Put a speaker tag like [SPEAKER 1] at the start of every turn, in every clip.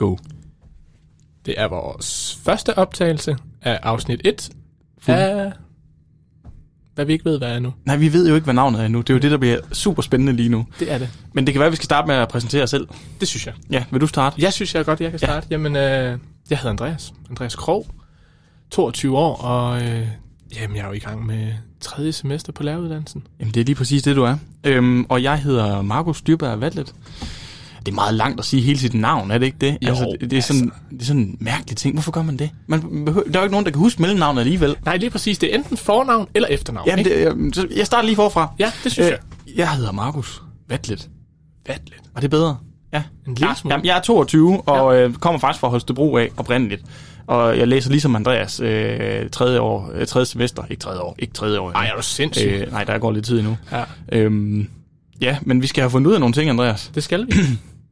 [SPEAKER 1] Go. Det er vores første optagelse af afsnit 1
[SPEAKER 2] Fuld.
[SPEAKER 1] af... Hvad vi ikke ved, hvad er nu.
[SPEAKER 2] Nej, vi ved jo ikke, hvad navnet er endnu. Det er jo det, der bliver super spændende lige nu.
[SPEAKER 1] Det er det.
[SPEAKER 2] Men det kan være, at vi skal starte med at præsentere os selv.
[SPEAKER 1] Det synes jeg.
[SPEAKER 2] Ja, vil du starte?
[SPEAKER 1] Jeg synes jeg godt, jeg kan
[SPEAKER 2] Ja.
[SPEAKER 1] starte. Ja. Jamen, øh, jeg hedder Andreas. Andreas Krog. 22 år, og øh, jamen, jeg er jo i gang med tredje semester på læreruddannelsen.
[SPEAKER 2] Jamen, det er lige præcis det, du er. Øhm, og jeg hedder Markus Dyrberg Vatlet. Det er meget langt at sige hele sit navn, er det ikke det? Altså,
[SPEAKER 1] Jo,
[SPEAKER 2] det, det, er sådan, det er sådan en mærkelig ting. Hvorfor gør man det? Man behøver, der er jo ikke nogen, der kan huske mellemnavnet alligevel.
[SPEAKER 1] Nej, lige præcis. Det er enten fornavn eller efternavn.
[SPEAKER 2] Jamen,
[SPEAKER 1] ikke?
[SPEAKER 2] det, øh, så jeg starter lige forfra.
[SPEAKER 1] ja det synes øh. jeg.
[SPEAKER 2] Øh, jeg hedder Markus Vatlet.
[SPEAKER 1] Vat lidt.
[SPEAKER 2] Var det bedre? Ja.
[SPEAKER 1] En lille
[SPEAKER 2] Ja,
[SPEAKER 1] smule.
[SPEAKER 2] jamen, jeg er 22 og øh, kommer faktisk fra Holstebro af oprindeligt. Og jeg læser ligesom Andreas øh, tredje, år, øh, tredje semester. Ikke tredje år. Ikke tredje år.
[SPEAKER 1] Ej, er du sindssyg? Øh.
[SPEAKER 2] øh, nej, der går lidt tid endnu.
[SPEAKER 1] Ja,
[SPEAKER 2] Øhm, ja, men vi skal have fundet ud af nogle ting, Andreas.
[SPEAKER 1] det skal vi.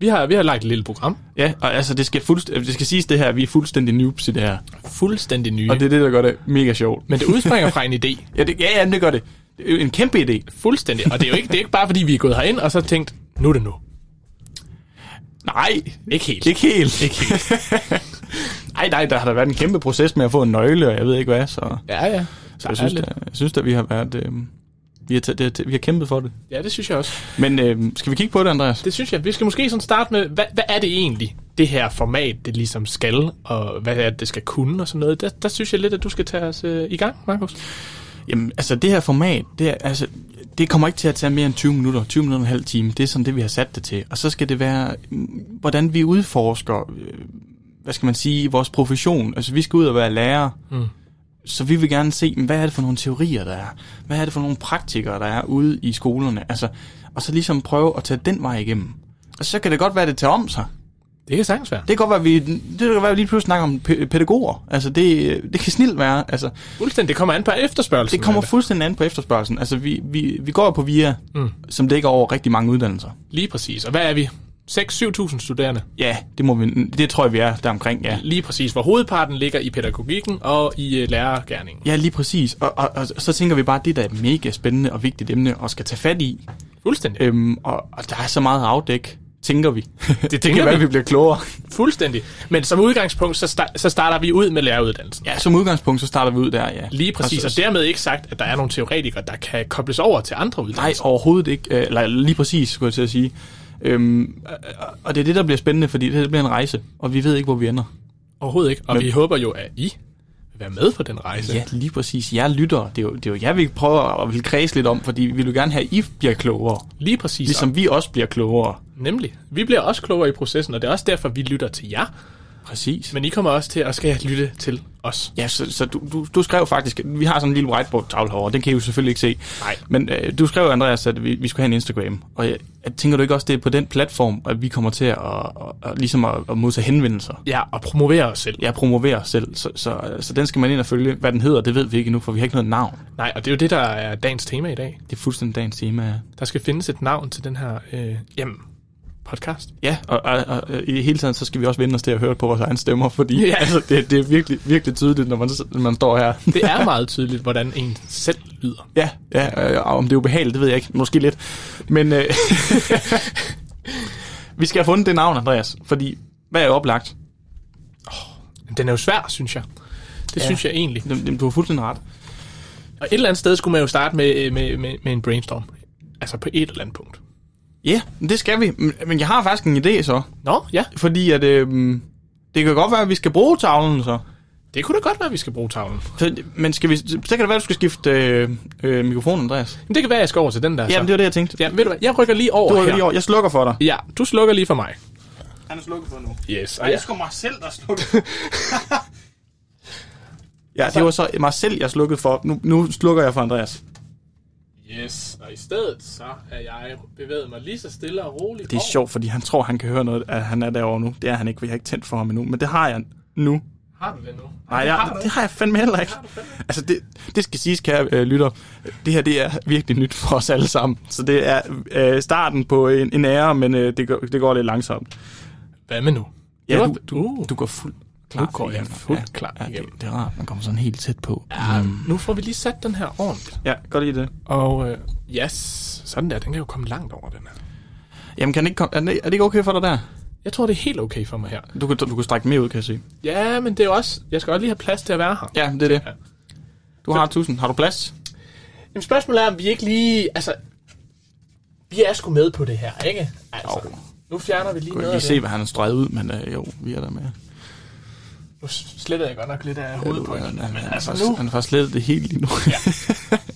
[SPEAKER 1] Vi har, vi har lagt et lille program.
[SPEAKER 2] Ja, og altså, det skal, fuldst- øh, det skal siges det her, vi er fuldstændig noobs i det her.
[SPEAKER 1] Fuldstændig nye.
[SPEAKER 2] Og det er det, der gør det mega sjovt.
[SPEAKER 1] Men det udspringer fra en idé.
[SPEAKER 2] Ja, det, ja, ja, det gør det. Det er jo en kæmpe idé.
[SPEAKER 1] Fuldstændig. Og det er jo ikke, det er ikke bare, fordi vi er gået herind og så tænkt, nu er det nu.
[SPEAKER 2] Nej,
[SPEAKER 1] Ikke helt.
[SPEAKER 2] ikke helt. Ikke helt. Ej, nej, der har der været en kæmpe proces med at få en nøgle, og jeg ved ikke hvad, så...
[SPEAKER 1] Ja, ja.
[SPEAKER 2] Så jeg synes,
[SPEAKER 1] lidt.
[SPEAKER 2] da, jeg synes da, vi har været... Øh, vi, har taget, det, har- vi har kæmpet for det.
[SPEAKER 1] Ja, det synes jeg også.
[SPEAKER 2] Men øh, skal vi kigge på det, Andreas?
[SPEAKER 1] Det synes jeg. Vi skal måske sådan starte med, hvad, hvad er det egentlig, det her format, det ligesom skal, og hvad er det, det skal kunne og sådan noget. Der, der synes jeg lidt, at du skal tage os øh, i gang, Markus.
[SPEAKER 2] Jamen, altså det her format, det, er, altså, det kommer ikke til at tage mere end 20 minutter, 20 minutter og en halv time. Det er sådan det, vi har sat det til. Og så skal det være, mm, hvordan vi udforsker, øh, hvad skal man sige, vores profession. Altså vi skal ud og være lærer. Mm. Så vi vil gerne se, men hvad er det for nogle teorier, der er? Hvad er det for nogle praktikere, der er ude i skolerne? Altså, og så ligesom prøve at tage den vej igennem. Og så kan det godt være, at det tager om sig.
[SPEAKER 1] Det kan sagtens være.
[SPEAKER 2] Det kan godt være, at vi, det kan godt være, at vi lige pludselig snakker om pæ- pædagoger. Altså, det, det kan snilt være. Altså,
[SPEAKER 1] Fuldstændig. Det kommer an på efterspørgelsen.
[SPEAKER 2] det kommer
[SPEAKER 1] Amanda.
[SPEAKER 2] fuldstændig an på efterspørgselen. Altså, vi, vi, vi går jo på VIA, mm. som dækker over rigtig mange uddannelser.
[SPEAKER 1] Lige præcis. Og hvad er vi? 6-7.000 studerende.
[SPEAKER 2] Ja, det, må vi, det tror jeg, vi er der omkring, ja.
[SPEAKER 1] Lige præcis. Hvor hovedparten ligger i pædagogikken og i øh, lærergærningen.
[SPEAKER 2] Ja, lige præcis. Og, og, og så tænker vi bare, at det der er et mega spændende og vigtigt emne at skal tage fat i.
[SPEAKER 1] Fuldstændig.
[SPEAKER 2] Øhm, og, og der er så meget at afdække, tænker vi. Det, det
[SPEAKER 1] tænker
[SPEAKER 2] kan være,
[SPEAKER 1] vi.
[SPEAKER 2] vi bliver klogere.
[SPEAKER 1] Fuldstændig. Men som udgangspunkt, så, sta- så starter vi ud med læreruddannelsen.
[SPEAKER 2] Ja, som udgangspunkt, så starter vi ud der, ja.
[SPEAKER 1] Lige præcis, og
[SPEAKER 2] Altså,
[SPEAKER 1] dermed ikke sagt, at der er nogle teoretikere, der kan kobles over til andre
[SPEAKER 2] nej,
[SPEAKER 1] uddannelser.
[SPEAKER 2] overhovedet ikke. Øh, Eller lige præcis, skulle jeg til at sige. Øhm, og- og det er det, der bliver spændende, fordi det her bliver en rejse, og vi ved ikke, hvor vi ender.
[SPEAKER 1] Overhovedet ikke. Og Men... vi håber jo, at I vil være med på den rejse.
[SPEAKER 2] Ja, lige præcis. Jeg lytter. Det er jo, det er jo jeg, vi prøver at vil kredse lidt om, fordi vi vil jo gerne have, at I bliver klogere.
[SPEAKER 1] Lige præcis.
[SPEAKER 2] Ligesom vi også bliver klogere.
[SPEAKER 1] Nemlig. Vi bliver også klogere i processen, og det er også derfor, vi lytter til jer.
[SPEAKER 2] Præcis.
[SPEAKER 1] Men I kommer også til at skal lytte til os.
[SPEAKER 2] Ja, så, så du, du, du skrev faktisk, vi har sådan en lille whiteboard-tavle herovre, den kan I jo selvfølgelig ikke se.
[SPEAKER 1] Nej.
[SPEAKER 2] Men øh, du skrev, Andreas, at vi, vi skulle have en Instagram. Og jeg, jeg tænker du ikke også, det er på den platform, at vi kommer til at, at, at, ligesom at, at modtage henvendelser?
[SPEAKER 1] Ja, og promovere os selv.
[SPEAKER 2] Jeg promoverer selv, så, så, så den skal man ind og følge. Hvad den hedder, det ved vi ikke endnu, for vi har ikke noget navn.
[SPEAKER 1] Nej, og det er jo det, der er dagens tema i dag.
[SPEAKER 2] Det er fuldstændig dagens tema.
[SPEAKER 1] Der skal findes et navn til den her øh, jamen, podcast.
[SPEAKER 2] Ja, og, og, og, og i det hele tiden, så skal vi også vende os til at høre på vores egne stemmer, fordi
[SPEAKER 1] Ja.
[SPEAKER 2] ja. altså, det, det er virkelig, virkelig tydeligt, når man, s- når man står her.
[SPEAKER 1] Det er meget tydeligt, hvordan en selv lyder.
[SPEAKER 2] Ja, ja øh, og om det er ubehageligt, det ved jeg ikke. Måske lidt. Men øh, vi skal have fundet det navn, Andreas, fordi hvad er oplagt?
[SPEAKER 1] Men Den er jo svær, synes jeg. Det ja. synes jeg egentlig.
[SPEAKER 2] Jamen, jamen, Du har fuldstændig ret.
[SPEAKER 1] Og et eller andet sted skulle man jo starte med, øh, med, med, med en brainstorm. Altså på et eller andet punkt.
[SPEAKER 2] Ja, men det skal vi. Men- Men jeg har faktisk en idé så,
[SPEAKER 1] Nå, ja.
[SPEAKER 2] fordi at, øh, det kan godt være, at vi skal bruge tavlen så.
[SPEAKER 1] Det kunne da godt være, at vi skal bruge tavlen.
[SPEAKER 2] Så- Men skal vi, så kan det være, at du skal skifte øh, øh, mikrofonen, Andreas.
[SPEAKER 1] Men det kan være, at jeg skal over til den der.
[SPEAKER 2] Jamen, det
[SPEAKER 1] så.
[SPEAKER 2] var det, jeg tænkte.
[SPEAKER 1] Ja, ved du hvad? Jeg rykker lige over
[SPEAKER 2] Du
[SPEAKER 1] her.
[SPEAKER 2] lige over. Jeg slukker for dig.
[SPEAKER 1] Ja, du slukker lige for mig.
[SPEAKER 2] Han er slukket for nu.
[SPEAKER 1] Yes. Og jeg,
[SPEAKER 2] skulle mig selv, der slukkede. ja, det var så mig selv, jeg slukkede for. Nu, nu slukker jeg for Andreas.
[SPEAKER 1] yes. Og i stedet, så er jeg bevæget mig lige så stille og roligt
[SPEAKER 2] Det er sjovt, fordi han tror, han kan høre noget, at han er derovre nu. Det er han ikke, for jeg har ikke tændt for ham endnu. Men det har jeg nu.
[SPEAKER 1] Har du det nu?
[SPEAKER 2] Nej, jeg, det har jeg fandme heller ikke. Altså, det, det skal siges, kære øh, lytter. Det her, det er virkelig nyt for os alle sammen. Så det er øh, starten på en, en ære, men øh, det, går, det går lidt langsomt.
[SPEAKER 1] Hvad med nu? Det
[SPEAKER 2] Ja,
[SPEAKER 1] var-
[SPEAKER 2] du, du,
[SPEAKER 1] uh,
[SPEAKER 2] du går fuldt
[SPEAKER 1] nu
[SPEAKER 2] klart
[SPEAKER 1] går jeg
[SPEAKER 2] igennem.
[SPEAKER 1] fuldt klar
[SPEAKER 2] Ja,
[SPEAKER 1] igennem.
[SPEAKER 2] det, det er rart, man kommer sådan helt tæt på.
[SPEAKER 1] Nu får vi lige sat den her ordentligt.
[SPEAKER 2] Ja, godt i det.
[SPEAKER 1] Og øh, yes, sådan der, den kan jo komme langt over den her.
[SPEAKER 2] Jamen, kan den ikke komme, er, det, er det ikke okay for dig der?
[SPEAKER 1] Jeg tror, det er helt okay for mig her.
[SPEAKER 2] Du kan, du kan strække mere ud, kan jeg se.
[SPEAKER 1] Ja, men det er jo også... Jeg skal også lige have plads til at være her.
[SPEAKER 2] Ja, det er det. Du har 1000. Har du plads?
[SPEAKER 1] Jamen, spørgsmålet er, om vi ikke lige... Altså, vi er sgu med på det her, ikke? Altså,
[SPEAKER 2] Jo.
[SPEAKER 1] nu fjerner vi lige
[SPEAKER 2] Du kan
[SPEAKER 1] noget
[SPEAKER 2] ikke
[SPEAKER 1] af
[SPEAKER 2] lige se,
[SPEAKER 1] det.
[SPEAKER 2] hvad han har streget ud, men øh, jo, vi er der med.
[SPEAKER 1] Nu sletter jeg godt nok lidt af hovedet på
[SPEAKER 2] Han, han,
[SPEAKER 1] Men
[SPEAKER 2] han,
[SPEAKER 1] altså
[SPEAKER 2] altså,
[SPEAKER 1] nu...
[SPEAKER 2] han har faktisk slettet det helt lige nu. Ja.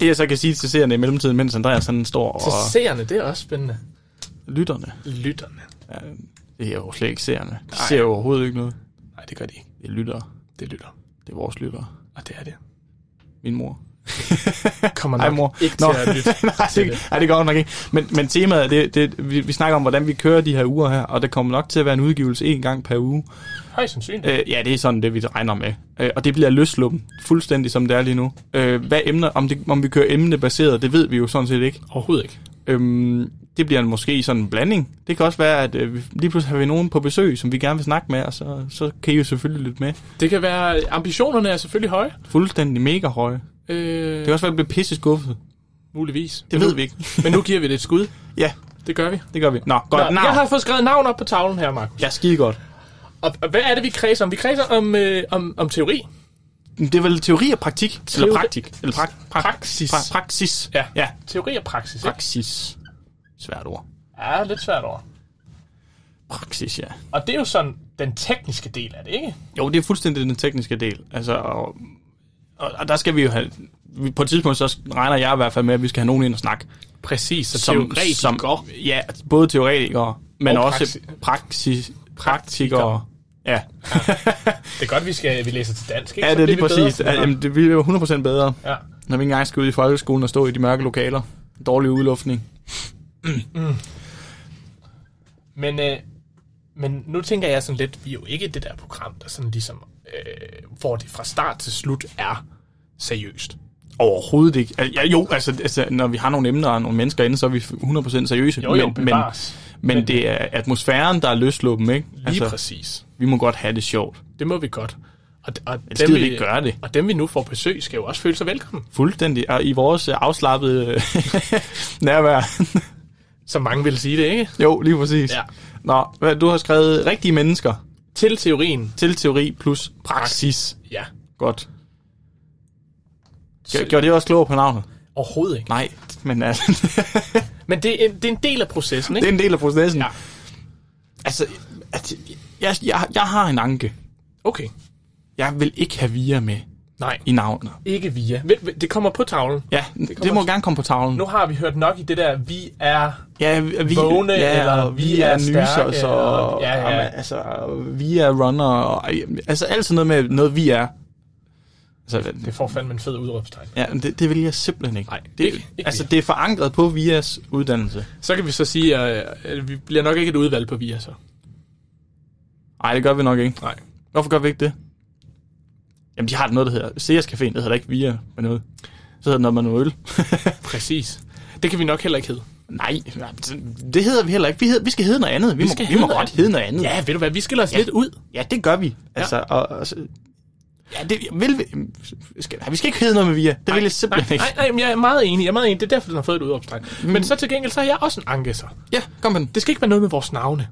[SPEAKER 2] det jeg så kan sige til seerne i mellemtiden, mens Andreas han står og
[SPEAKER 1] Så seerne, det er også spændende.
[SPEAKER 2] lytterne.
[SPEAKER 1] Lytterne.
[SPEAKER 2] Ja, det er jo slet ikke seerne. De ser jo overhovedet ikke noget.
[SPEAKER 1] Nej, det gør de ikke.
[SPEAKER 2] Det er lyttere.
[SPEAKER 1] Det er lytter.
[SPEAKER 2] Det er vores lyttere.
[SPEAKER 1] Og det er det.
[SPEAKER 2] Min mor.
[SPEAKER 1] Kommer
[SPEAKER 2] Ej,
[SPEAKER 1] nok
[SPEAKER 2] mor.
[SPEAKER 1] ikke
[SPEAKER 2] Nå.
[SPEAKER 1] til at lytte.
[SPEAKER 2] Nej,
[SPEAKER 1] til
[SPEAKER 2] det, nej, det går nok ikke. Men, men temaet, er det, det, vi, vi snakker om, hvordan vi kører de her uger her, og der kommer nok til at være en udgivelse en gang per uge.
[SPEAKER 1] Højst sandsynligt.
[SPEAKER 2] Øh, ja, det er sådan det, vi regner med. Øh, og det bliver løsluppen, fuldstændig som det er lige nu. Øh, hvad emner, om, det, om vi kører emnebaseret, det ved vi jo sådan set ikke.
[SPEAKER 1] Overhovedet ikke.
[SPEAKER 2] Øhm, det bliver måske sådan en blanding. Det kan også være, at øh, vi- lige pludselig har vi nogen på besøg, som vi gerne vil snakke med, og så, så kan I jo selvfølgelig lytte med.
[SPEAKER 1] Det kan være... Ambitionerne er selvfølgelig høje.
[SPEAKER 2] Fuldstændig mega høje. Det
[SPEAKER 1] Øh,
[SPEAKER 2] kan også være, at vi bliver pisse skuffet.
[SPEAKER 1] muligvis.
[SPEAKER 2] Det
[SPEAKER 1] Men
[SPEAKER 2] ved
[SPEAKER 1] nu-
[SPEAKER 2] vi ikke.
[SPEAKER 1] Men nu giver vi det et skud.
[SPEAKER 2] ja,
[SPEAKER 1] Det gør vi.
[SPEAKER 2] det gør vi. Nå, godt. Nå,
[SPEAKER 1] Nå, jeg har fået skrevet navn op på tavlen her, Markus.
[SPEAKER 2] ja, skide godt.
[SPEAKER 1] Og, og hvad er det, vi kredser om? Vi kredser om, øh, om, om teori.
[SPEAKER 2] Men Det er vel teori og praktik? Eller
[SPEAKER 1] Teori-
[SPEAKER 2] praktik? Eller prak- prak-
[SPEAKER 1] Praksis.
[SPEAKER 2] Pra- praksis.
[SPEAKER 1] Ja.
[SPEAKER 2] ja.
[SPEAKER 1] Teori og praksis, ikke?
[SPEAKER 2] Praksis. Svært ord.
[SPEAKER 1] Ja, lidt svært over.
[SPEAKER 2] Praksis, ja.
[SPEAKER 1] Og det er jo sådan den tekniske del af det, ikke?
[SPEAKER 2] Jo, det er fuldstændig den tekniske del. Altså, og, og, og der skal vi jo have... vi- På et tidspunkt, så regner jeg i hvert fald med, at vi skal have nogen ind og snakke.
[SPEAKER 1] Præcis, så
[SPEAKER 2] Ja, både teoretikere, men
[SPEAKER 1] Og
[SPEAKER 2] og også
[SPEAKER 1] praksi-
[SPEAKER 2] praksis, praktikere. Ja,
[SPEAKER 1] Det er godt, vi skal vi læser til dansk, ikke?
[SPEAKER 2] ja
[SPEAKER 1] Så
[SPEAKER 2] det er lige
[SPEAKER 1] bliver vi
[SPEAKER 2] præcis.
[SPEAKER 1] bedre.
[SPEAKER 2] Ja, jamen, det bliver jo 100% bedre,
[SPEAKER 1] Ja.
[SPEAKER 2] når vi ikke engang skal ud i folkeskolen og stå i de mørke lokaler. Dårlig udluftning.
[SPEAKER 1] Men, øh, men nu tænker jeg sådan lidt, vi er jo ikke det der program, der sådan ligesom, øh, hvor det fra start til slut er seriøst.
[SPEAKER 2] Overhovedet ikke. Al- Ja, jo, altså, altså, når vi har nogle emner og nogle mennesker inde, så er vi 100% seriøse.
[SPEAKER 1] Jo, jo,
[SPEAKER 2] men, men,
[SPEAKER 1] bevares.
[SPEAKER 2] men det er atmosfæren, der er løsluppen, ikke?
[SPEAKER 1] Lige altså. præcis.
[SPEAKER 2] vi må godt have det sjovt.
[SPEAKER 1] Det må vi godt. Og, og,
[SPEAKER 2] gider vi ikke gøre det.
[SPEAKER 1] og dem, vi nu får besøg, skal jo også føle sig velkommen,
[SPEAKER 2] Fuldstændig. Og i vores øh, afslappede øh, nærvær.
[SPEAKER 1] som mange vil sige det, ikke?
[SPEAKER 2] jo, lige præcis.
[SPEAKER 1] Ja.
[SPEAKER 2] Nå, hvad- du har skrevet rigtige mennesker
[SPEAKER 1] Til teorien,
[SPEAKER 2] til teori plus praksis.
[SPEAKER 1] ja.
[SPEAKER 2] Godt. Gj- Gjorde det også klogere på navnet?
[SPEAKER 1] Overhovedet ikke.
[SPEAKER 2] Nej, men altså,
[SPEAKER 1] Men det er, en, det er en del af processen,
[SPEAKER 2] det
[SPEAKER 1] ikke?
[SPEAKER 2] er en del af processen.
[SPEAKER 1] Ja.
[SPEAKER 2] Altså, at, jeg, jeg, jeg har en anke.
[SPEAKER 1] Okay.
[SPEAKER 2] Jeg vil ikke have via med
[SPEAKER 1] Nej,
[SPEAKER 2] i navnet.
[SPEAKER 1] ikke via. Vent, vent, Det kommer på tavlen.
[SPEAKER 2] Ja, det, det må gerne komme på tavlen.
[SPEAKER 1] Nu har vi hørt nok i det der, vi er...
[SPEAKER 2] Ja, vi,
[SPEAKER 1] Vågne,
[SPEAKER 2] ja,
[SPEAKER 1] eller
[SPEAKER 2] og vi,
[SPEAKER 1] vi
[SPEAKER 2] er,
[SPEAKER 1] er stærke,
[SPEAKER 2] nysers, og,
[SPEAKER 1] eller- ja,
[SPEAKER 2] ja,
[SPEAKER 1] ja.
[SPEAKER 2] ja. Jamen, altså, og vi er runner, og, altså alt sådan noget med noget, vi er. Altså,
[SPEAKER 1] Det får fandme en fed udråbstegn.
[SPEAKER 2] ja, men det, det vil jeg simpelthen ikke.
[SPEAKER 1] Nej,
[SPEAKER 2] det,
[SPEAKER 1] ikke- ikke
[SPEAKER 2] altså,
[SPEAKER 1] vi er.
[SPEAKER 2] det er forankret på Vias uddannelse.
[SPEAKER 1] Så kan vi så sige, øh, at vi bliver nok ikke et udvalg på VIA så.
[SPEAKER 2] Nej, det gør vi nok ikke.
[SPEAKER 1] Nej.
[SPEAKER 2] Hvorfor gør vi ikke det? Jamen, de har noget, der hedder Sears Caféen. Det hedder da ikke Via med noget. Så hedder det noget med noget øl.
[SPEAKER 1] Præcis. Det kan vi nok heller ikke hedde.
[SPEAKER 2] Nej, det hedder vi heller ikke. Vi, hedder, vi skal hedde noget andet. Vi, vi,
[SPEAKER 1] skal
[SPEAKER 2] må, vi
[SPEAKER 1] hedde
[SPEAKER 2] må
[SPEAKER 1] noget
[SPEAKER 2] godt hedde noget andet.
[SPEAKER 1] Ja, ved du hvad, vi skiller os ja. lidt ud.
[SPEAKER 2] Ja, det gør vi. Altså, ja. Og, og, så- ja, det vil vi... Skal, nej, vi skal ikke hedde noget med Via. Det vil jeg
[SPEAKER 1] Nej, Mm.
[SPEAKER 2] simpelthen ikke.
[SPEAKER 1] nej, nej, men jeg er meget enig. Jeg er meget enig. Det er derfor, den har fået et udråbstegn. Men så til gengæld, så er jeg også en anke så.
[SPEAKER 2] Ja, kom med den.
[SPEAKER 1] Det skal ikke være noget med vores navne.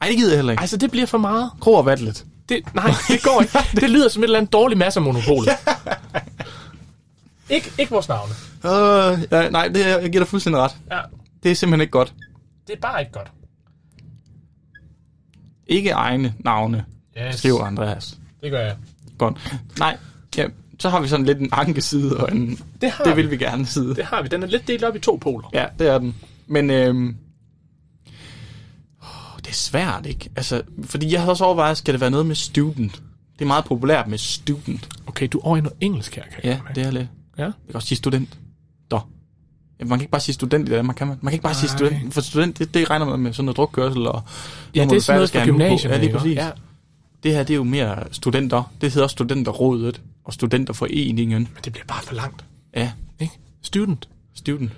[SPEAKER 2] Nej, det gider jeg heller ikke.
[SPEAKER 1] Altså, det bliver for meget.
[SPEAKER 2] Kro og vatlet.
[SPEAKER 1] Det, nej, det går ikke. Det lyder som et eller andet dårligt masse monopol. Ikke, ikke vores navne.
[SPEAKER 2] Øh, ja, nej, det, jeg giver dig fuldstændig ret.
[SPEAKER 1] Ja,
[SPEAKER 2] Det er simpelthen ikke godt.
[SPEAKER 1] det er bare ikke godt.
[SPEAKER 2] Ikke egne navne,
[SPEAKER 1] Yes,
[SPEAKER 2] skriver Andreas.
[SPEAKER 1] det gør jeg.
[SPEAKER 2] Godt. Nej, ja, så har vi sådan lidt en ankeside, og en,
[SPEAKER 1] Det har
[SPEAKER 2] det
[SPEAKER 1] vi.
[SPEAKER 2] vil vi gerne side.
[SPEAKER 1] Det har vi. Den er lidt delt op i to poler.
[SPEAKER 2] Ja, det er den. Men øhm, åh, det er svært, ikke? Altså, fordi jeg havde også overvejet, skal det være noget med student? Det er meget populært med student.
[SPEAKER 1] Okay, du er over i noget engelsk her, kan jeg
[SPEAKER 2] Ja,
[SPEAKER 1] godt mærke.
[SPEAKER 2] det er lidt.
[SPEAKER 1] ja.
[SPEAKER 2] Jeg kan også sige student. Der. Ja, man kan ikke bare sige student i Danmark, kan man? Man kan ikke bare sige student, for student, det, det regner man med sådan noget drukkørsel og...
[SPEAKER 1] Ja,
[SPEAKER 2] nu må
[SPEAKER 1] det er
[SPEAKER 2] du
[SPEAKER 1] sådan noget
[SPEAKER 2] færdes
[SPEAKER 1] fra
[SPEAKER 2] gerne på.
[SPEAKER 1] gymnasiet.
[SPEAKER 2] Ja, lige præcis. Ja. Det her, det er jo mere studenter. Det hedder også studenterrådet og studenterforeningen.
[SPEAKER 1] Men det bliver bare for langt,
[SPEAKER 2] Ja,
[SPEAKER 1] ikke? Student.
[SPEAKER 2] student.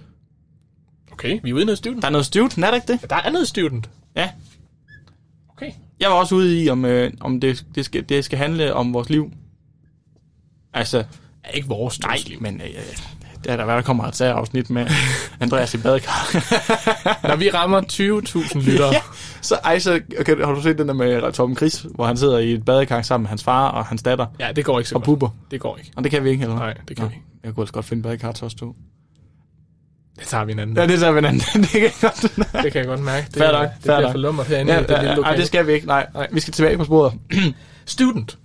[SPEAKER 1] Okay, vi er ude i noget student.
[SPEAKER 2] Der er noget student, er der ikke det?
[SPEAKER 1] Der er noget student.
[SPEAKER 2] Ja.
[SPEAKER 1] Okay.
[SPEAKER 2] Jeg var også ude i, om, øh, om det, det, skal, det skal handle om vores liv. Altså,
[SPEAKER 1] Er ikke vores
[SPEAKER 2] nej,
[SPEAKER 1] studentliv.
[SPEAKER 2] men øh, det er der, hvad der kommer et afsnit med Andreas i badekar.
[SPEAKER 1] Når vi rammer 20.000 lyttere,
[SPEAKER 2] ja. Så ej, så, okay, har du set den der med Tom Chris, hvor han sidder i et badekar sammen med hans far og hans datter?
[SPEAKER 1] ja, det går ikke så
[SPEAKER 2] Og
[SPEAKER 1] godt.
[SPEAKER 2] buber.
[SPEAKER 1] Det går ikke.
[SPEAKER 2] Og det kan vi ikke, eller hvad?
[SPEAKER 1] Nej, det kan
[SPEAKER 2] Nå,
[SPEAKER 1] vi ikke.
[SPEAKER 2] Jeg kunne altså godt finde badekar til os to.
[SPEAKER 1] Det tager vi en anden.
[SPEAKER 2] Ja, det tager vi en anden. det kan jeg godt.
[SPEAKER 1] Det kan jeg godt mærke. Det,
[SPEAKER 2] Fair nok,
[SPEAKER 1] det
[SPEAKER 2] fair
[SPEAKER 1] bliver
[SPEAKER 2] nok.
[SPEAKER 1] for lummert herinde
[SPEAKER 2] Ja,
[SPEAKER 1] i det
[SPEAKER 2] ja,
[SPEAKER 1] lille
[SPEAKER 2] ja, ej,
[SPEAKER 1] lokale.
[SPEAKER 2] det skal vi ikke. Nej, nej. Vi skal tilbage på sporet.
[SPEAKER 1] Student.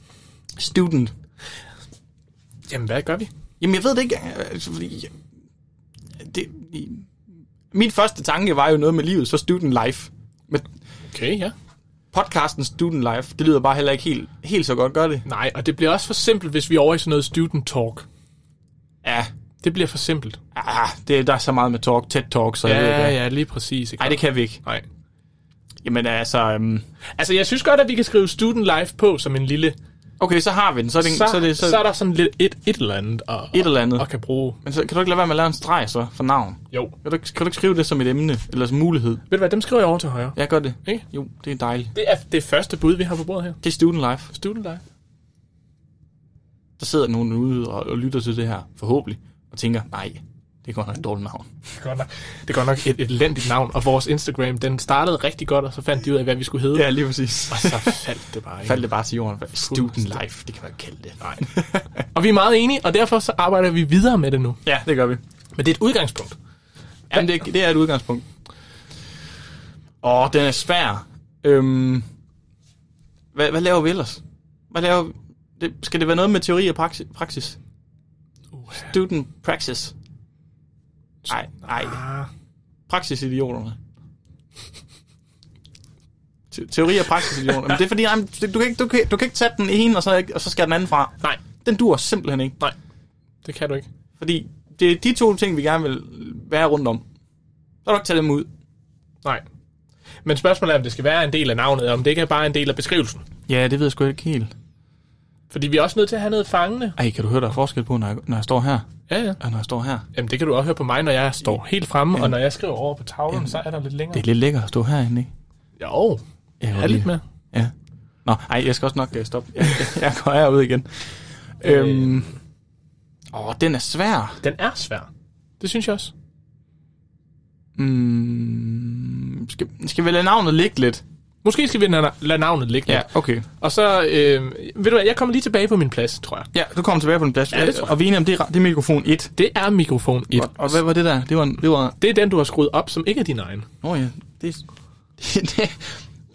[SPEAKER 2] Student.
[SPEAKER 1] Jamen, hvad gør vi?
[SPEAKER 2] Jamen, jeg ved det ikke, altså, fordi... Det, min første tanke var jo noget med livet, så student life. Men
[SPEAKER 1] Okay, ja.
[SPEAKER 2] podcasten Student Life, det lyder bare heller ikke helt, helt så godt, gør det?
[SPEAKER 1] Nej, og det bliver også for simpelt, hvis vi er over i sådan noget student talk.
[SPEAKER 2] Ja,
[SPEAKER 1] Det bliver for simpelt.
[SPEAKER 2] ah, det, der er så meget med talk, tæt talk, så jeg ved ikke.
[SPEAKER 1] Ja,
[SPEAKER 2] hvad.
[SPEAKER 1] ja, lige præcis. Ikke?
[SPEAKER 2] Ej, det kan vi ikke.
[SPEAKER 1] Nej.
[SPEAKER 2] Jamen altså, øhm,
[SPEAKER 1] Altså, jeg synes godt, at vi kan skrive student life på som en lille...
[SPEAKER 2] okay, så har vi den. Så er, det,
[SPEAKER 1] Så,
[SPEAKER 2] så, så, er det, så,
[SPEAKER 1] så er der sådan lidt et, et eller andet og,
[SPEAKER 2] et eller andet.
[SPEAKER 1] og kan bruge.
[SPEAKER 2] Men så kan du ikke lade være med at lave en streg så for navn?
[SPEAKER 1] Jo.
[SPEAKER 2] Kan du, ikke- kan du ikke skrive det som et emne, eller som mulighed?
[SPEAKER 1] Ved du hvad, dem skriver jeg over til højre.
[SPEAKER 2] Jeg gør det.
[SPEAKER 1] Ikke?
[SPEAKER 2] Jo, det er dejligt.
[SPEAKER 1] Det er det første bud, vi har på bordet her.
[SPEAKER 2] Det er student life.
[SPEAKER 1] Student life.
[SPEAKER 2] Der sidder nogen ude og, og lytter til det her, forhåbentlig, og tænker, nej, det går nok et dårligt navn.
[SPEAKER 1] Det er godt nok, det er godt nok et, et elendigt navn, og vores Instagram, den startede rigtig godt, og så fandt de ud af, hvad vi skulle hedde.
[SPEAKER 2] lige præcis.
[SPEAKER 1] Og så faldt det bare, ikke?
[SPEAKER 2] Faldt det bare til jorden. Student life, det kan man ikke kalde det. Nej.
[SPEAKER 1] Og vi er meget enige, og derfor så arbejder vi videre med det nu.
[SPEAKER 2] ja, det gør vi.
[SPEAKER 1] Men det er et udgangspunkt.
[SPEAKER 2] Jamen, det, det er et udgangspunkt. Åh, den er svær. Øhm, hvad, hvad laver vi ellers? Hvad laver vi? Det, skal det være noget med teori og praksis? praksis?
[SPEAKER 1] Uh,
[SPEAKER 2] Student praxis. Nej, nej.
[SPEAKER 1] ah,
[SPEAKER 2] Praksisidioterne. Te- Teori og praksisidioterne. Men det er fordi, nej, men det- du, kan ikke, du, kan, du kan ikke tage den ene, og så, ikke- og så skal den anden fra.
[SPEAKER 1] nej,
[SPEAKER 2] Den dur simpelthen ikke.
[SPEAKER 1] nej. Det kan du ikke.
[SPEAKER 2] Fordi det er de to ting, vi gerne vil være rundt om. Så kan du ikke tage dem ud.
[SPEAKER 1] Nej. Men spørgsmålet er, om det skal være en del af navnet, og om det ikke er bare en del af beskrivelsen.
[SPEAKER 2] Ja, det ved jeg sgu ikke helt.
[SPEAKER 1] Fordi vi er også nødt til at have noget fangende.
[SPEAKER 2] Ej, kan du høre, der er forskel på, når jeg, når jeg står her,
[SPEAKER 1] Ja, ja.
[SPEAKER 2] og når jeg står her?
[SPEAKER 1] Jamen, det kan du også høre på mig, når jeg står helt fremme, og når jeg skriver over på tavlen, så er der lidt længere.
[SPEAKER 2] Det er lidt lækkert at stå herinde, ikke?
[SPEAKER 1] Jo,
[SPEAKER 2] Jeg
[SPEAKER 1] jeg
[SPEAKER 2] kan
[SPEAKER 1] er
[SPEAKER 2] godt lide
[SPEAKER 1] lidt med.
[SPEAKER 2] det. Ja. Nå, ej, jeg skal også nok øh, stoppe. Jeg, jeg, jeg går herud igen. Øhm. Åh, den er svær.
[SPEAKER 1] Den er svær. Det synes jeg også.
[SPEAKER 2] Mm, skal, skal vi lade navnet ligge lidt?
[SPEAKER 1] Måske skal vi na- lade navnet ligge. lidt.
[SPEAKER 2] okay.
[SPEAKER 1] Og så, øh, ved du hvad, jeg kommer lige tilbage på min plads, tror jeg.
[SPEAKER 2] Ja, du kommer tilbage på den plads.
[SPEAKER 1] Ja, det tror jeg.
[SPEAKER 2] Og vi er enige om, det er, ra- det er mikrofon 1.
[SPEAKER 1] Det er mikrofon 1.
[SPEAKER 2] Og, og hvad var det der? Det var... en- Det var
[SPEAKER 1] Det er den, du har skruet op, som ikke er din egen.
[SPEAKER 2] Nå ja, det, det, det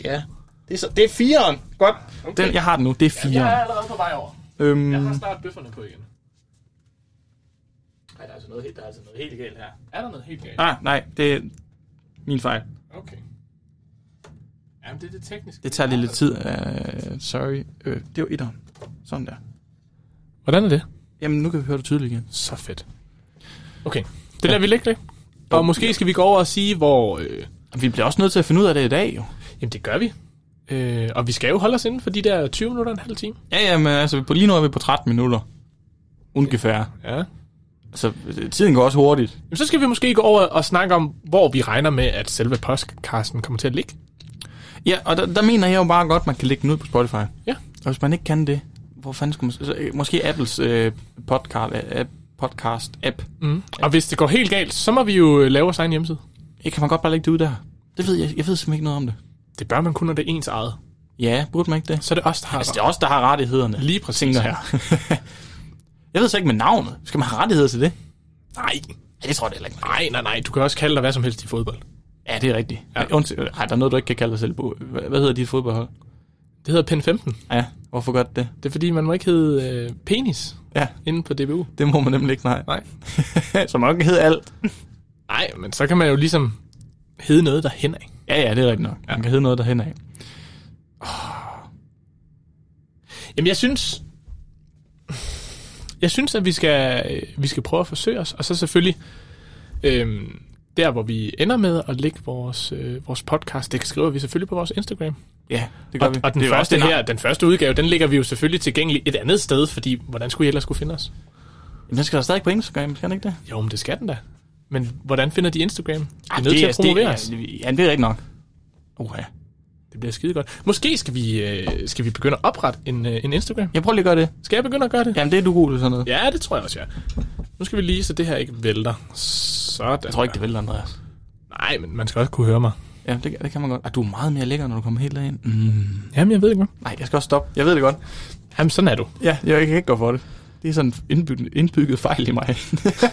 [SPEAKER 2] Ja. Det er, så, det er fireren. Godt. Okay. Den, jeg har den nu. Det er fireren.
[SPEAKER 1] allerede på vej over.
[SPEAKER 2] Øhm,
[SPEAKER 1] snart bøfferne på igen. Ej, der er altså noget, helt- der er altså noget helt galt her. Er der noget helt galt?
[SPEAKER 2] ah, nej, det er min fejl.
[SPEAKER 1] Okay. Jamen, det er det tekniske.
[SPEAKER 2] Det tager lige lidt tid. Uh, sorry. Øh, det var etteren. Sådan der.
[SPEAKER 1] Hvordan er det?
[SPEAKER 2] Jamen, nu kan vi høre det tydeligt igen.
[SPEAKER 1] Så fedt. Okay, det lader vi ligge det. Og måske skal vi gå over og sige, hvor... Øh,
[SPEAKER 2] Og vi bliver også nødt til at finde ud af det i dag, jo.
[SPEAKER 1] jamen, det gør vi. Øh, og vi skal jo holde os inden for de der 20 minutter og en halv time.
[SPEAKER 2] Ja, ja, men altså, på, lige nu er vi på 13 minutter. Ungefær.
[SPEAKER 1] Ja.
[SPEAKER 2] Så øh, tiden går også hurtigt.
[SPEAKER 1] Jamen, så skal vi måske gå over og snakke om, hvor vi regner med, at selve podcasten kommer til at ligge.
[SPEAKER 2] Ja, og der, der mener jeg jo bare godt, man kan lægge den ud på Spotify.
[SPEAKER 1] Ja.
[SPEAKER 2] Og hvis man ikke kan det, hvor fanden skulle man... så- Så, øh, måske Apples øh, podcast, øh, app, podcast app.
[SPEAKER 1] Mm. Og hvis det går helt galt, så må vi jo øh, lave vores egen hjemmeside.
[SPEAKER 2] Ja, kan man godt bare lægge det ud der? Det ved jeg, jeg ved simpelthen ikke noget om det.
[SPEAKER 1] Det bør man kun, når det er ens eget.
[SPEAKER 2] Ja, burde man ikke det?
[SPEAKER 1] Så er det os, der har
[SPEAKER 2] Altså, det er os, der har rettighederne.
[SPEAKER 1] Lige præcis.
[SPEAKER 2] tænker jeg. jeg ved så ikke med navnet. Skal man have rettigheder til det?
[SPEAKER 1] Nej,
[SPEAKER 2] Ja, det tror jeg heller ikke.
[SPEAKER 1] nej, nej, nej. Du kan også kalde dig hvad som helst i fodbold.
[SPEAKER 2] Ja, det er rigtigt. Ja. Undskyld, ej, der er noget, du ikke kan kalde dig selv på. Hvad hvad hedder dit fodboldhold?
[SPEAKER 1] Det hedder PEN 15.
[SPEAKER 2] Ja, hvorfor gør det det?
[SPEAKER 1] Det er fordi, man må ikke hedde øh, penis
[SPEAKER 2] Ja,
[SPEAKER 1] inde på DBU.
[SPEAKER 2] det må man nemlig ikke, nej.
[SPEAKER 1] Nej.
[SPEAKER 2] Så man kan hedde alt.
[SPEAKER 1] Nej, men så kan man jo ligesom hedde noget derhen af.
[SPEAKER 2] Ja, ja, det er rigtigt nok. Man kan hedde noget derhen af.
[SPEAKER 1] Jamen, jeg synes... Jeg synes, at vi skal, øh, vi skal prøve at forsøge os. Og så selvfølgelig... Øh, der, hvor vi ender med at lægge vores, øh, vores podcast, det skriver vi selvfølgelig på vores Instagram.
[SPEAKER 2] Ja, det gør
[SPEAKER 1] Og,
[SPEAKER 2] vi.
[SPEAKER 1] og den,
[SPEAKER 2] det er jo
[SPEAKER 1] første
[SPEAKER 2] også det
[SPEAKER 1] her, den første udgave, den ligger vi jo selvfølgelig tilgængelig et andet sted, fordi hvordan skulle I ellers kunne finde os?
[SPEAKER 2] navn. Men den skal der stadig på Instagram, skal den ikke det?
[SPEAKER 1] Jo, men det skal den da. Men hvordan finder de Instagram? Vi er
[SPEAKER 2] Ej,
[SPEAKER 1] nødt til at
[SPEAKER 2] Ah, det-
[SPEAKER 1] promovere os.
[SPEAKER 2] det, ja, det er rigtigt nok. Uha.
[SPEAKER 1] Det bliver skide godt. Måske skal vi, øh, skal vi begynde at oprette en, øh, en Instagram.
[SPEAKER 2] Jeg prøver lige at gøre det.
[SPEAKER 1] Skal jeg begynde at gøre det?
[SPEAKER 2] Jamen, det er du god til sådan noget.
[SPEAKER 1] Ja, det tror jeg også, ja. Nu skal vi lige, så det her ikke vælter. Sådan.
[SPEAKER 2] Jeg tror ikke, det vælter, Andreas.
[SPEAKER 1] Nej, men man skal også kunne høre mig.
[SPEAKER 2] Ja, det, det kan man godt. Og du er meget mere lækker, når du kommer helt derind. Mm.
[SPEAKER 1] Jamen, jeg ved ikke, hvad.
[SPEAKER 2] Nej, jeg skal også stoppe. Jeg ved det godt.
[SPEAKER 1] Jamen, sådan er du.
[SPEAKER 2] Ja, jeg kan ikke gå for det. Det er sådan en indbygget, indbygget fejl i mig.
[SPEAKER 1] Så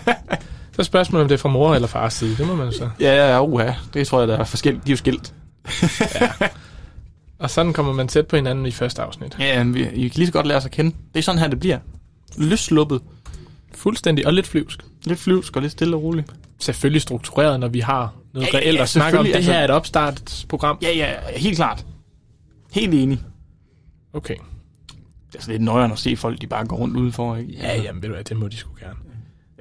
[SPEAKER 1] er spørgsmålet, om det er fra mor eller fars side. Det må man jo så.
[SPEAKER 2] ja, ja, ja, uha. Det tror jeg, der er forskelligt. De er jo skilt.
[SPEAKER 1] Og sådan kommer man tæt på hinanden i første afsnit.
[SPEAKER 2] Ja, ja, men vi, I kan lige så godt lære os at kende. Det er sådan her, det bliver. Løsluppet.
[SPEAKER 1] Fuldstændig og lidt flyvsk.
[SPEAKER 2] Lidt flyvsk og lidt stille og roligt.
[SPEAKER 1] Selvfølgelig struktureret, når vi har noget
[SPEAKER 2] Ja, ja,
[SPEAKER 1] reelt
[SPEAKER 2] ja,
[SPEAKER 1] at snakke om. Det
[SPEAKER 2] selvfølgelig,
[SPEAKER 1] her er et
[SPEAKER 2] altså.
[SPEAKER 1] opstartsprogram.
[SPEAKER 2] Ja, ja, helt klart. Helt enig.
[SPEAKER 1] Okay.
[SPEAKER 2] Det er sådan lidt nøjeren at se folk, de bare går rundt udenfor. Ikke?
[SPEAKER 1] Ja, jamen ved du hvad, det må de sgu gerne.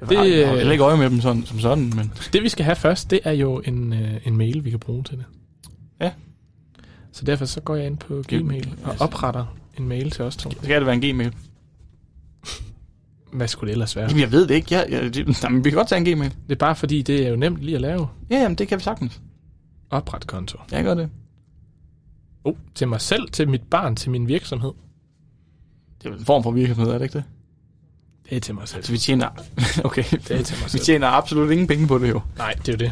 [SPEAKER 2] Jeg
[SPEAKER 1] det-
[SPEAKER 2] har, jeg har heller ikke øje med dem sådan, som sådan, men...
[SPEAKER 1] Det vi skal have først, det er jo en, øh, en mail, vi kan bruge til det.
[SPEAKER 2] Ja.
[SPEAKER 1] Så derfor så går jeg ind på Gmail og
[SPEAKER 2] altså.
[SPEAKER 1] opretter en mail til os to.
[SPEAKER 2] Skal det være en gmail?
[SPEAKER 1] Hvad skulle det ellers være?
[SPEAKER 2] Jamen, jeg ved det ikke. Jeg, jeg, det, jamen, vi kan godt tage en gmail.
[SPEAKER 1] Det er bare fordi, det er jo nemt lige at lave.
[SPEAKER 2] Ja, jamen, det kan vi sagtens.
[SPEAKER 1] Opret konto.
[SPEAKER 2] Jeg gør det.
[SPEAKER 1] Oh, til mig selv, til mit barn, til min virksomhed.
[SPEAKER 2] Det er vel en form for virksomhed, er det ikke det?
[SPEAKER 1] Det er til mig selv.
[SPEAKER 2] Så Altså, vi tjener... Okay,
[SPEAKER 1] Det er til mig
[SPEAKER 2] vi
[SPEAKER 1] selv.
[SPEAKER 2] tjener absolut ingen penge på det jo.
[SPEAKER 1] Nej, det er jo det.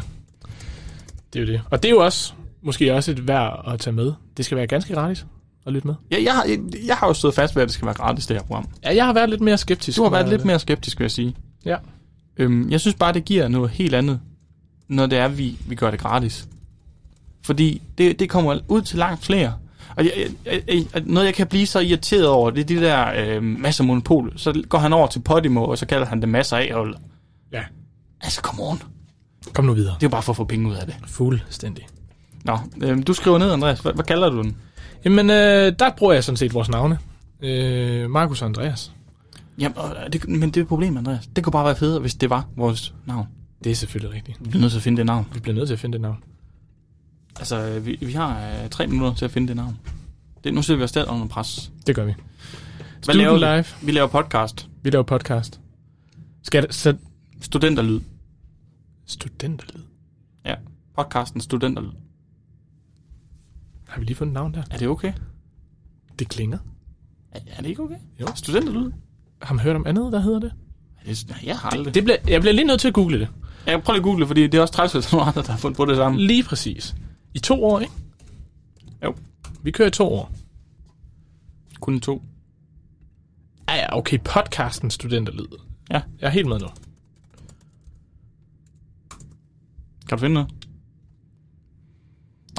[SPEAKER 1] Det er jo det. Og det er jo også, måske også et værd at tage med. Det skal være ganske gratis at lytte med.
[SPEAKER 2] Ja, jeg, har, jeg, jeg har jo stået fast ved, at det skal være gratis, det her program.
[SPEAKER 1] Ja, jeg har været lidt mere skeptisk.
[SPEAKER 2] Du har været lidt mere skeptisk, vil jeg sige.
[SPEAKER 1] Ja.
[SPEAKER 2] Øhm, jeg synes bare, det giver noget helt andet, når det er, vi, vi gør det gratis. Fordi det, det kommer ud til langt flere. Og jeg, jeg, jeg, jeg- noget, jeg kan blive så irriteret over, det er de der øh, masser af monopol. Så går han over til Podimo, og så kalder han det masser af. Og,
[SPEAKER 1] Ja.
[SPEAKER 2] altså, come on.
[SPEAKER 1] Kom nu videre.
[SPEAKER 2] Det er jo bare for at få penge ud af det.
[SPEAKER 1] Fuldstændig.
[SPEAKER 2] Nå, øh, du skriver ned, Andreas. Hvad, hvad kalder du den?
[SPEAKER 1] Jamen, øh, der bruger jeg sådan set vores navne. Øh, Markus og Andreas.
[SPEAKER 2] Jamen, øh, det, men det er et problem, Andreas. Det kunne bare være federe, hvis det var vores navn.
[SPEAKER 1] Det er selvfølgelig rigtigt.
[SPEAKER 2] Vi bliver nødt til at finde det navn.
[SPEAKER 1] Vi bliver nødt til at finde det navn.
[SPEAKER 2] Altså, øh, vi, vi har øh, tre minutter til at finde det navn. Det, nu sidder vi os stadig under pres.
[SPEAKER 1] Det gør vi.
[SPEAKER 2] Hvad
[SPEAKER 1] Student
[SPEAKER 2] laver vi?
[SPEAKER 1] live.
[SPEAKER 2] Vi laver podcast.
[SPEAKER 1] Vi laver podcast. Skal der, så
[SPEAKER 2] Studenterlyd.
[SPEAKER 1] studenterlyd?
[SPEAKER 2] Ja. Podcasten Studenterlyd.
[SPEAKER 1] Har vi lige fundet navn der?
[SPEAKER 2] Er det okay?
[SPEAKER 1] Det klinger.
[SPEAKER 2] Er, er det ikke okay?
[SPEAKER 1] Jo.
[SPEAKER 2] Studenterlyd?
[SPEAKER 1] Har man hørt om andet? Hvad hedder det?
[SPEAKER 2] Er det, nej, jeg har aldrig. Det,
[SPEAKER 1] det bliver, jeg bliver lige nødt til at google det.
[SPEAKER 2] jeg prøver lige at google, det, fordi det er også træls, at nogle andre, der har fundet på det samme.
[SPEAKER 1] Lige præcis. I to år, ikke?
[SPEAKER 2] Jo.
[SPEAKER 1] Vi kører i to år.
[SPEAKER 2] Kun to.
[SPEAKER 1] Ja, ja, okay. Podcasten Studenterlyd.
[SPEAKER 2] Ja.
[SPEAKER 1] Jeg er helt med nu.
[SPEAKER 2] Kan du finde noget?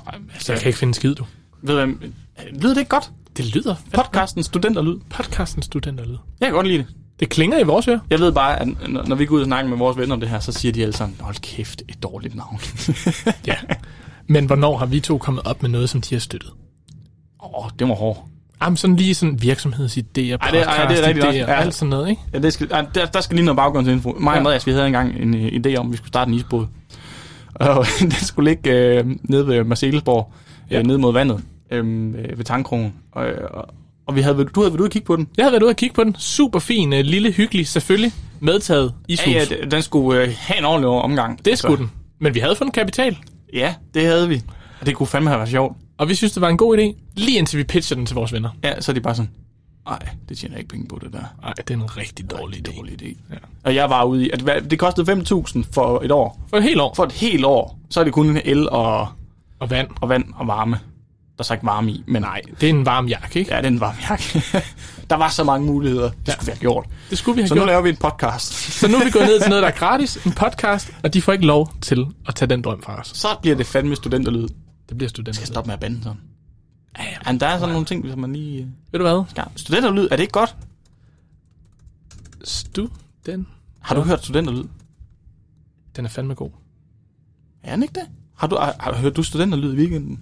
[SPEAKER 2] Nej, men altså,
[SPEAKER 1] Jeg kan ikke finde en skid, du.
[SPEAKER 2] ved du hvad, øh, lyder det ikke godt?
[SPEAKER 1] Det lyder.
[SPEAKER 2] Podcasten Studenterlyd.
[SPEAKER 1] Podcasten Studenterlyd.
[SPEAKER 2] Jeg kan godt lide det.
[SPEAKER 1] Det klinger i vores ører.
[SPEAKER 2] Jeg ved bare, at når- når vi går ud og snakker med vores venner om det her, så siger de alle sammen, hold kæft, et dårligt navn.
[SPEAKER 1] Ja. Men hvornår har vi to kommet op med noget, som de har støttet?
[SPEAKER 2] Åh, oh, det var hårdt.
[SPEAKER 1] Jamen sådan lige sådan virksomhedsidéer,
[SPEAKER 2] Ej, det er- ej, det er
[SPEAKER 1] podcast-idéer,
[SPEAKER 2] rigtigt nok. Ja.
[SPEAKER 1] alt sådan noget, ikke?
[SPEAKER 2] Ja, det skal, ah, der, der skal lige noget baggrundsinfo. Mig og
[SPEAKER 1] Ja.
[SPEAKER 2] Andreas, vi havde engang en øh, idé om, at vi skulle starte en isbåd. Og den skulle ligge øh, nede ved Marcelesborg, ja.
[SPEAKER 1] Ja.
[SPEAKER 2] øh, nede mod vandet, øh, øh, ved Tankkrogen. Og, øh, og, og vi havde, været- du havde været ude og kigge på den.
[SPEAKER 1] Jeg havde været ude og kigge på den. Super fin, øh, lille, hyggelig, selvfølgelig. Medtaget i
[SPEAKER 2] Ja,
[SPEAKER 1] sus.
[SPEAKER 2] ja, d- den skulle øh, have en ordentlig omgang. Altså,
[SPEAKER 1] det skulle den. Men vi havde fundet kapital,
[SPEAKER 2] Ja, det havde vi. Og det kunne fandme have været sjovt.
[SPEAKER 1] og vi synes, det var en god idé, lige indtil vi pitcher den til vores venner.
[SPEAKER 2] Ja, så er de bare sådan, nej, det tjener ikke penge på det der.
[SPEAKER 1] Nej, det er en rigtig dårlig idé.
[SPEAKER 2] Dårlig idé.
[SPEAKER 1] Ja.
[SPEAKER 2] Ja. Og jeg var ude i, at hvad- det kostede 5.000 for et år.
[SPEAKER 1] For et helt år.
[SPEAKER 2] For et helt år, så er det kun el og,
[SPEAKER 1] Og vand.
[SPEAKER 2] og vand og varme. Der er så ikke varme i, men nej,
[SPEAKER 1] Det er en varm jakke, ikke?
[SPEAKER 2] Ja, den var mærk. der var så mange muligheder, det skulle vi have gjort.
[SPEAKER 1] Det skulle vi have
[SPEAKER 2] Så nu
[SPEAKER 1] gjort.
[SPEAKER 2] laver vi en podcast.
[SPEAKER 1] Så nu er vi gået ned til noget, der er gratis, en podcast, og de får ikke lov til at tage den drøm fra os.
[SPEAKER 2] så bliver det fandme studenterlyd.
[SPEAKER 1] Det bliver studenter.
[SPEAKER 2] Stop med at bande sådan. Jamen, der er sådan nogle ting, som man lige... øh,
[SPEAKER 1] Ved du hvad?
[SPEAKER 2] Skal. Studenterlyd, er det ikke godt?
[SPEAKER 1] Stu, den,
[SPEAKER 2] Har du hørt studenterlyd?
[SPEAKER 1] den er fandme god.
[SPEAKER 2] Er den ikke det? Har du, har, har, hørt du studenterlyd i weekenden?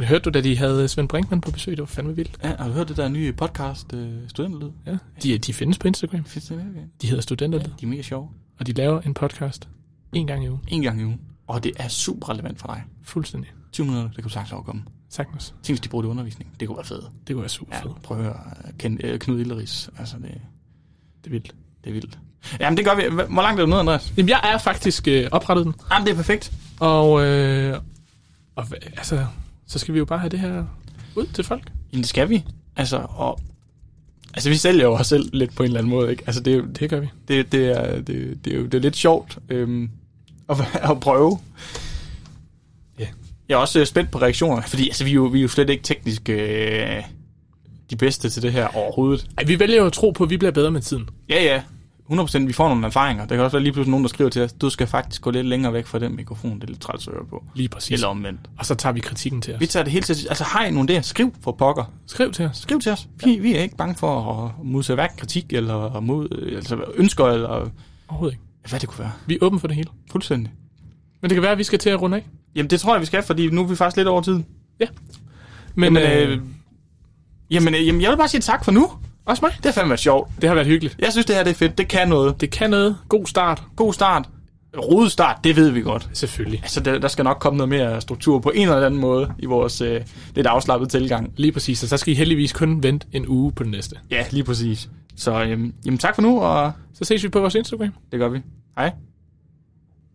[SPEAKER 1] Hørte du, da de havde Svend Brinkmann på besøg? Det var fandme vildt.
[SPEAKER 2] Ja, har du hørt det der nye podcast, øh, Studenterlyd?
[SPEAKER 1] Ja. De, de findes på Instagram.
[SPEAKER 2] Findes det med?
[SPEAKER 1] De hedder Studenterlyd,
[SPEAKER 2] De er mega sjove.
[SPEAKER 1] og de laver en podcast en gang i ugen.
[SPEAKER 2] En gang i ugen. Og det er super relevant for dig.
[SPEAKER 1] Fuldstændig.
[SPEAKER 2] 20 minutter, det kan du sagtens overkomme.
[SPEAKER 1] Sagtens.
[SPEAKER 2] Tænk, hvis de bruger det i undervisning. Det kunne være fedt.
[SPEAKER 1] Det kunne være super
[SPEAKER 2] Ja,
[SPEAKER 1] fedt.
[SPEAKER 2] prøv at høre. øh, Ken, øh, Knud Illeris. Altså, det,
[SPEAKER 1] Det er vildt.
[SPEAKER 2] Det er vildt. Jamen, det gør vi. Hva- Hvor langt er du nede, Andreas?
[SPEAKER 1] Jamen, jeg er faktisk øh, oprettet den,
[SPEAKER 2] Jamen, det er perfekt.
[SPEAKER 1] og, øh, og hva- altså, så skal vi jo bare have det her ud til folk.
[SPEAKER 2] Jamen, det skal vi. Altså, og Altså, vi sælger jo os selv lidt på en eller anden måde, ikke? Altså, det, er jo-
[SPEAKER 1] Det gør vi.
[SPEAKER 2] det, det, er, det, det, er, jo, det er lidt sjovt øhm, at, at prøve.
[SPEAKER 1] Ja.
[SPEAKER 2] Jeg er også øh, spændt på reaktionerne, fordi altså, vi, er jo, vi er jo slet ikke teknisk øh, de bedste til det her overhovedet.
[SPEAKER 1] Ej, vi vælger jo at tro på, at vi bliver bedre med tiden.
[SPEAKER 2] Ja, ja. 100% vi får nogle erfaringer. Der kan også være lige pludselig nogen, der skriver til os, du skal faktisk gå lidt længere væk fra den mikrofon, det er lidt træls at høre på.
[SPEAKER 1] Lige præcis.
[SPEAKER 2] Eller omvendt.
[SPEAKER 1] Og så tager vi kritikken til os.
[SPEAKER 2] Vi tager det hele til, altså har I nogle der, skriv for pokker.
[SPEAKER 1] Skriv til os.
[SPEAKER 2] Skriv til os. Vi, vi er ikke bange for at modtage hverken kritik eller mod, altså ønsker eller
[SPEAKER 1] Overhovedet ikke.
[SPEAKER 2] hvad det kunne være.
[SPEAKER 1] Vi er åbne for det hele.
[SPEAKER 2] Fuldstændig.
[SPEAKER 1] Men det kan være, at vi skal til at runde af.
[SPEAKER 2] Jamen, det tror jeg, vi skal, fordi nu er vi faktisk lidt over tid.
[SPEAKER 1] Men
[SPEAKER 2] Jamen, øh, jamen, øh, jamen, jeg vil bare sige tak for nu.
[SPEAKER 1] også mig.
[SPEAKER 2] Det har fandme været sjovt.
[SPEAKER 1] Det har været hyggeligt.
[SPEAKER 2] Jeg synes, det her det er fedt. Det kan noget.
[SPEAKER 1] Det kan noget. God start.
[SPEAKER 2] God start. Rodet start, det ved vi godt.
[SPEAKER 1] Selvfølgelig.
[SPEAKER 2] Altså, der, der skal nok komme noget mere struktur på en eller anden måde i vores øh, lidt afslappede tilgang.
[SPEAKER 1] Lige præcis. Og så skal I heldigvis kun vente en uge på den næste.
[SPEAKER 2] Ja, lige præcis. Så øhm, jamen, tak for nu, og
[SPEAKER 1] Så ses vi på vores Instagram.
[SPEAKER 2] det gør vi. Hej.